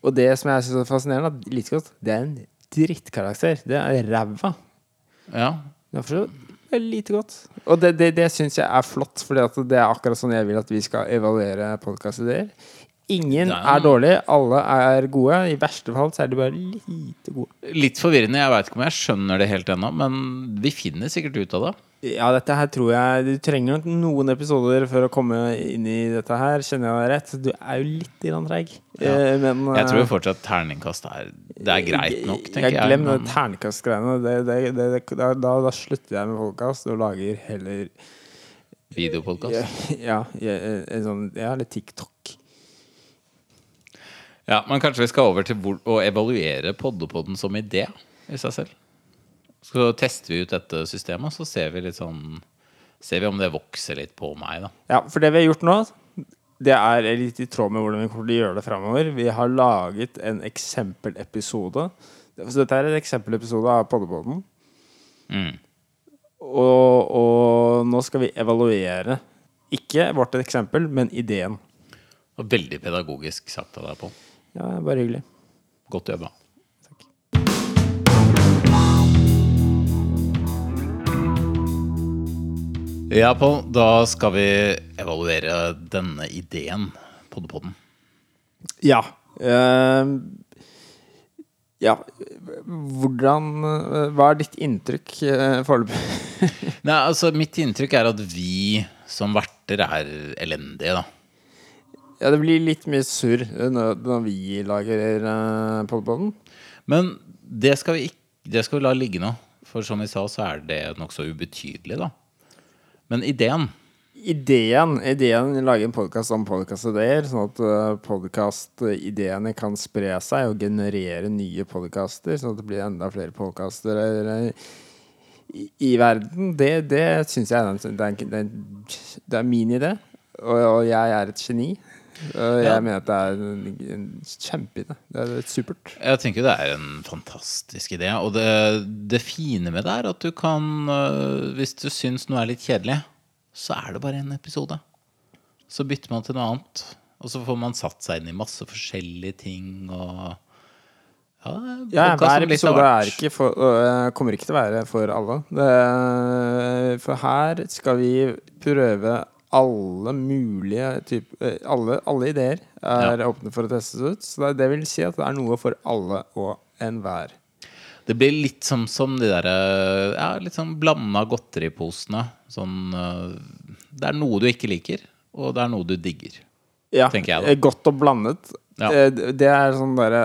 [SPEAKER 2] Og det som jeg syns er fascinerende, at lite godt, det er en drittkarakter. Det er ræva.
[SPEAKER 1] Ja.
[SPEAKER 2] Derfor så er det lite godt. Og det, det, det syns jeg er flott, for det er akkurat sånn jeg vil at vi skal evaluere podkastideer. Ingen
[SPEAKER 1] Det er
[SPEAKER 2] er dårlige, alle er gode. I verste fall så er de bare lite gode.
[SPEAKER 1] Litt forvirrende. Jeg veit ikke om jeg skjønner det helt ennå, men vi finner sikkert ut av det.
[SPEAKER 2] Ja, dette her tror jeg Du trenger nok noen episoder for å komme inn i dette her, kjenner jeg deg rett. Du er jo litt grann treig,
[SPEAKER 1] Ja.
[SPEAKER 2] Eh, men
[SPEAKER 1] Jeg tror
[SPEAKER 2] eh,
[SPEAKER 1] jo fortsatt terningkast er Det er greit nok, tenker jeg.
[SPEAKER 2] jeg. Glem
[SPEAKER 1] men-
[SPEAKER 2] de ternekastgreiene. Det, det, det, det, da, da, da slutter jeg med podkast og lager heller
[SPEAKER 1] Videopodkast.
[SPEAKER 2] ja, ja, en sånn, ja, eller TikTok.
[SPEAKER 1] Ja, men kanskje vi skal over til hvor, å evaluere Poddepodden som idé i seg selv. Så tester vi ut dette systemet, så ser vi litt sånn Ser vi om det vokser litt på meg, da.
[SPEAKER 2] Ja, for det vi har gjort nå, det er litt i tråd med hvordan vi kommer til å gjøre det framover. Vi har laget en eksempelepisode. Så dette er en eksempelepisode av Poddepoden.
[SPEAKER 1] Mm.
[SPEAKER 2] Og, og nå skal vi evaluere ikke vårt eksempel, men ideen.
[SPEAKER 1] Og veldig pedagogisk sagt av deg, Pål.
[SPEAKER 2] Ja, bare hyggelig.
[SPEAKER 1] Godt jobba. Ja, Pål, da skal vi evaluere denne ideen, Poddepodden.
[SPEAKER 2] Ja. Eh, ja, hvordan eh, Hva er ditt inntrykk eh, foreløpig? [LAUGHS]
[SPEAKER 1] Nei, altså Mitt inntrykk er at vi som verter er elendige, da.
[SPEAKER 2] Ja, det blir litt mye surr eh, når, når vi lager uh, podpoden.
[SPEAKER 1] Men det skal vi, ikk- det skal vi la ligge nå. For som vi sa, så er det nokså ubetydelig, da. Men ideen
[SPEAKER 2] Ideen, ideen lage en podkast om podkastideer, sånn at eh, podkastideene kan spre seg og generere nye podkaster, sånn at det blir enda flere podkaster eh, i, i verden, det, det syns jeg er en, det, er en, det, er en, det er min idé. Og, og jeg er et geni. Og jeg
[SPEAKER 1] Ja.
[SPEAKER 2] mener at det er en, en kjempeidé. Det er supert.
[SPEAKER 1] Jeg tenker det er en fantastisk idé. Og det, det fine med det er at du kan øh, Hvis du syns noe er litt kjedelig, så er det bare en episode. Så bytter man til noe annet. Og så får man satt seg inn i masse forskjellige ting og Ja,
[SPEAKER 2] Ja,
[SPEAKER 1] podcast
[SPEAKER 2] hver
[SPEAKER 1] om litt av
[SPEAKER 2] episode
[SPEAKER 1] hvert.
[SPEAKER 2] er ikke for, øh, kommer ikke til å være for alle. Det, for her skal vi prøve alle mulige typ, øh, alle, alle ideer er åpne for å testes ut. Så det, det vil si at det er noe for alle og enhver.
[SPEAKER 1] Det blir litt som, som de der eh, ja, litt sånn blanda godteriposene. Sånn eh, Det er noe du ikke liker, og det er noe du digger.
[SPEAKER 2] Ja,
[SPEAKER 1] Tenker jeg da.
[SPEAKER 2] eh, Godt og blandet.
[SPEAKER 1] Ja.
[SPEAKER 2] Eh, d- Det er sånn derre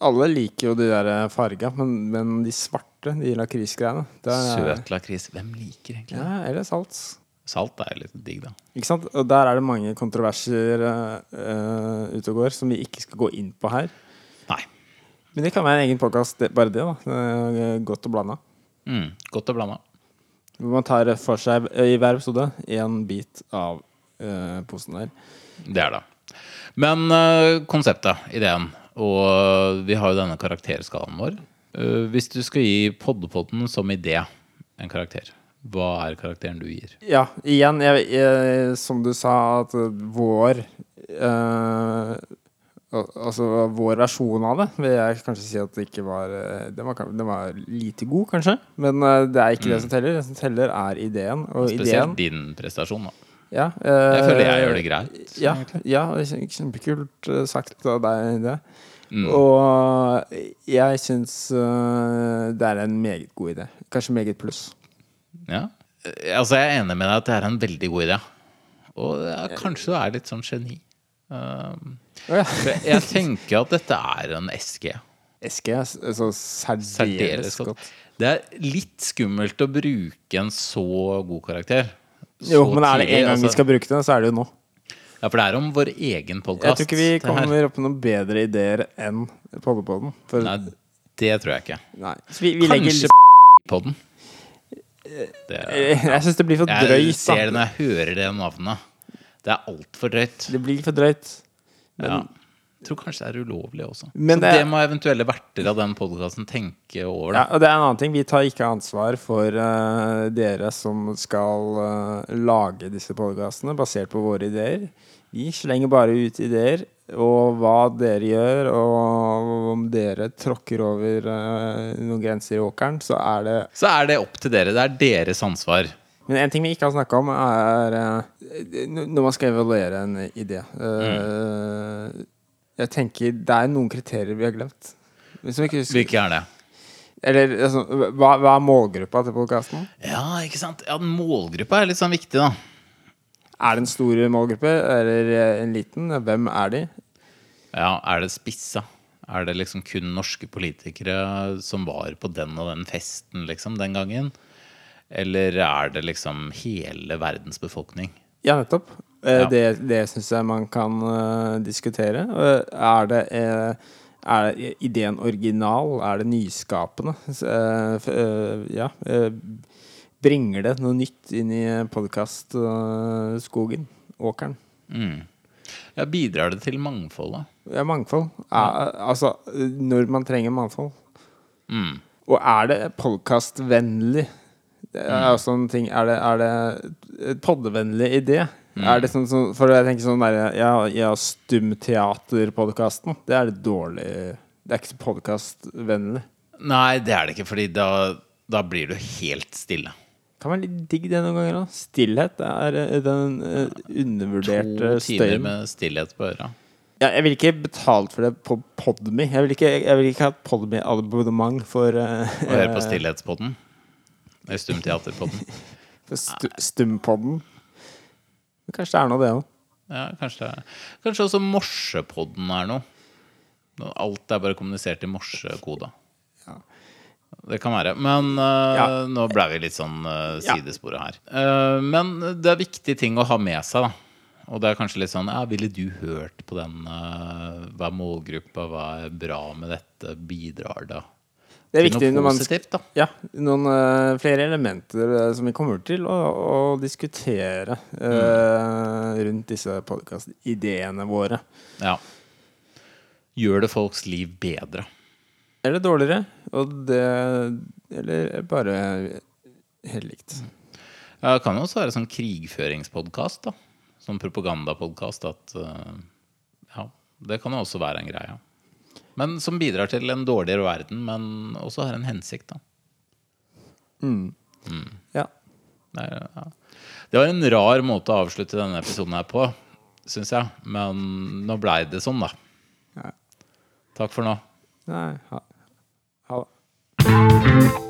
[SPEAKER 2] Alle liker jo de der farga, men, men de svarte, de lakrisgreiene det er-
[SPEAKER 1] Søt lakris. Hvem liker egentlig det?
[SPEAKER 2] Ja, eller salt.
[SPEAKER 1] Salt er litt digg, da.
[SPEAKER 2] Ikke sant? Og der er det mange kontroverser eh, eh, ute og går som vi ikke skal gå inn på her.
[SPEAKER 1] Nei.
[SPEAKER 2] Men det kan være en egen podkast, bare det. da Eh, Godt og blanda.
[SPEAKER 1] Mm, godt og blanda.
[SPEAKER 2] Hvor man tar for seg eh, i hver episode én bit av eh, posen der.
[SPEAKER 1] Det er det. Men eh, konseptet, ideen, og eh, vi har jo denne karakterskalaen vår. Eh, hvis du skal gi Poddepotten som idé en karakter, hva er karakteren du gir?
[SPEAKER 2] Ja, igjen, jeg, jeg, som du sa, at vår eh, al- Altså vår versjon av det vil jeg kanskje si at det ikke var eh, Den var, kan- den var lite god, kanskje. Men eh, det er ikke det som teller. Det som teller, er ideen. Og ideen
[SPEAKER 1] Spesielt din prestasjon, da.
[SPEAKER 2] ja, eh,
[SPEAKER 1] Jeg føler jeg gjør det greit.
[SPEAKER 2] Ja, ja det er kjem- kjempekult eh, sagt av deg, det.
[SPEAKER 1] Mm.
[SPEAKER 2] Og jeg syns det er en meget god idé. Kanskje meget pluss.
[SPEAKER 1] Ja. Eh, Altså, jeg er enig med deg at det er en veldig god idé. Og ja, kanskje du er litt sånn geni. Um,
[SPEAKER 2] Å ja.
[SPEAKER 1] for jeg jeg tenker at dette er en
[SPEAKER 2] [LAUGHS]
[SPEAKER 1] SG.
[SPEAKER 2] Eske er s- så særdeles
[SPEAKER 1] Særdeles
[SPEAKER 2] godt.
[SPEAKER 1] godt. Det er litt skummelt å bruke en så god karakter.
[SPEAKER 2] Jo,
[SPEAKER 1] så
[SPEAKER 2] men er det
[SPEAKER 1] tidlig,
[SPEAKER 2] en gang vi
[SPEAKER 1] altså.
[SPEAKER 2] skal bruke det, så er det jo nå.
[SPEAKER 1] Ja, for det er om vår egen
[SPEAKER 2] Jeg
[SPEAKER 1] podkast.
[SPEAKER 2] tror ikke vi kommer opp med noen bedre ideer enn Poddepodden. For,
[SPEAKER 1] Nei, det tror jeg ikke.
[SPEAKER 2] nei. Så vi, vi legger
[SPEAKER 1] Kanskje
[SPEAKER 2] litt-
[SPEAKER 1] podden. Det,
[SPEAKER 2] [LAUGHS] Jeg syns det blir for
[SPEAKER 1] jeg
[SPEAKER 2] drøyt.
[SPEAKER 1] ser det
[SPEAKER 2] da.
[SPEAKER 1] når jeg hører det navnet. Det er altfor drøyt.
[SPEAKER 2] Det blir for drøyt.
[SPEAKER 1] Ja. Jeg tror kanskje det er ulovlig også.
[SPEAKER 2] Men
[SPEAKER 1] så det,
[SPEAKER 2] det-
[SPEAKER 1] må eventuelle verter av den podkasten tenke over.
[SPEAKER 2] Ja,
[SPEAKER 1] Da.
[SPEAKER 2] og det er en annen ting. Vi tar ikke ansvar for eh, dere som skal eh, lage disse podkastene basert på våre ideer. Vi slenger bare ut ideer, og hva dere gjør, og om dere tråkker over eh, noen grenser i åkeren, så er det
[SPEAKER 1] Så er det opp til dere. Det er deres ansvar.
[SPEAKER 2] Men en ting vi ikke har snakka om, er eh, n- når man skal evaluere en idé. Eh, Jeg tenker det er noen kriterier vi har glemt. Hvis vi ikke husker,
[SPEAKER 1] Hvilke er det?
[SPEAKER 2] eller altså, hva, hva er målgruppa til podkasten?
[SPEAKER 1] Ja, ikke sant? Ja, Målgruppa er litt sånn viktig, da.
[SPEAKER 2] Er det en stor målgruppe eller eh, en liten? Hvem er de?
[SPEAKER 1] Ja, Er det spissa? Er det liksom kun norske politikere som var på den og den festen liksom den gangen? Eller er det liksom hele verdens befolkning?
[SPEAKER 2] Ja, nettopp. Eh,
[SPEAKER 1] Ja.
[SPEAKER 2] Det, det syns jeg man kan eh, diskutere. Eh, er det eh, er ideen original? Er det nyskapende? Eh, f- eh, ja. eh, bringer det noe nytt inn i eh, podkastskogen? åkeren?
[SPEAKER 1] Mm. Ja, Bidrar det til mangfoldet?
[SPEAKER 2] Ja, mangfold. Er, altså, eh, når man trenger mangfold.
[SPEAKER 1] Mm.
[SPEAKER 2] Og er det podkastvennlig? Det
[SPEAKER 1] Mm.
[SPEAKER 2] er også en ting Er det, er det et poddevennlig idé?
[SPEAKER 1] Mm.
[SPEAKER 2] Er det sånn, som- for jeg tenker sånn der, Ja, ja Stumteaterpodkasten. Det er litt dårlig Det er ikke så podkastvennlig.
[SPEAKER 1] Nei, det er det ikke, fordi da, da blir du helt stille.
[SPEAKER 2] Kan være litt digg det noen ganger. da Stillhet er eh, den eh, undervurderte
[SPEAKER 1] To timer
[SPEAKER 2] støyen.
[SPEAKER 1] med stillhet på øra.
[SPEAKER 2] ja, Jeg ville ikke betalt for det på Podme. Jeg ville ikke, jeg ville ikke hatt Podme-abonnement for, eh,
[SPEAKER 1] Å høre på Stillhetspodden. Eller Stumteaterpodden.
[SPEAKER 2] for stu, Stumpodden. Men kanskje det er noe, det òg.
[SPEAKER 1] Ja, kanskje, det er- kanskje også morsepodden er noe. Nå- Alt er bare kommunisert i morsekoda. Det kan være. Men eh,
[SPEAKER 2] Ja.
[SPEAKER 1] nå ble vi litt sånn uh,
[SPEAKER 2] Ja.
[SPEAKER 1] sidesporet her. Eh, men det er viktige ting å ha med seg, da. Og det er kanskje litt sånn ja, Ville du hørt på den? eh, hva er målgruppa? Hva er bra med dette? Bidrar det
[SPEAKER 2] Det
[SPEAKER 1] til
[SPEAKER 2] er viktig når
[SPEAKER 1] noe
[SPEAKER 2] man sk-
[SPEAKER 1] positivt, da?
[SPEAKER 2] Ja, noen eh, flere elementer eh, som vi kommer til å, å diskutere
[SPEAKER 1] Mm.
[SPEAKER 2] eh, rundt disse podkastideene våre.
[SPEAKER 1] Ja. Gjør det folks liv bedre?
[SPEAKER 2] Eller dårligere. Og det Eller bare helt likt.
[SPEAKER 1] Ja, det kan jo også være sånn krigføringspodkast, da. Sånn propagandapodkast at eh, Ja, det kan jo også være en greie. Men som bidrar til en dårligere verden, men også har en hensikt, da. Mm.
[SPEAKER 2] Mm. Ja.
[SPEAKER 1] Det, er, ja. det var en rar måte å avslutte denne episoden her på, syns jeg. Men nå blei det sånn, da.
[SPEAKER 2] Ja.
[SPEAKER 1] Takk for nå.
[SPEAKER 2] Nei, ha, ha det.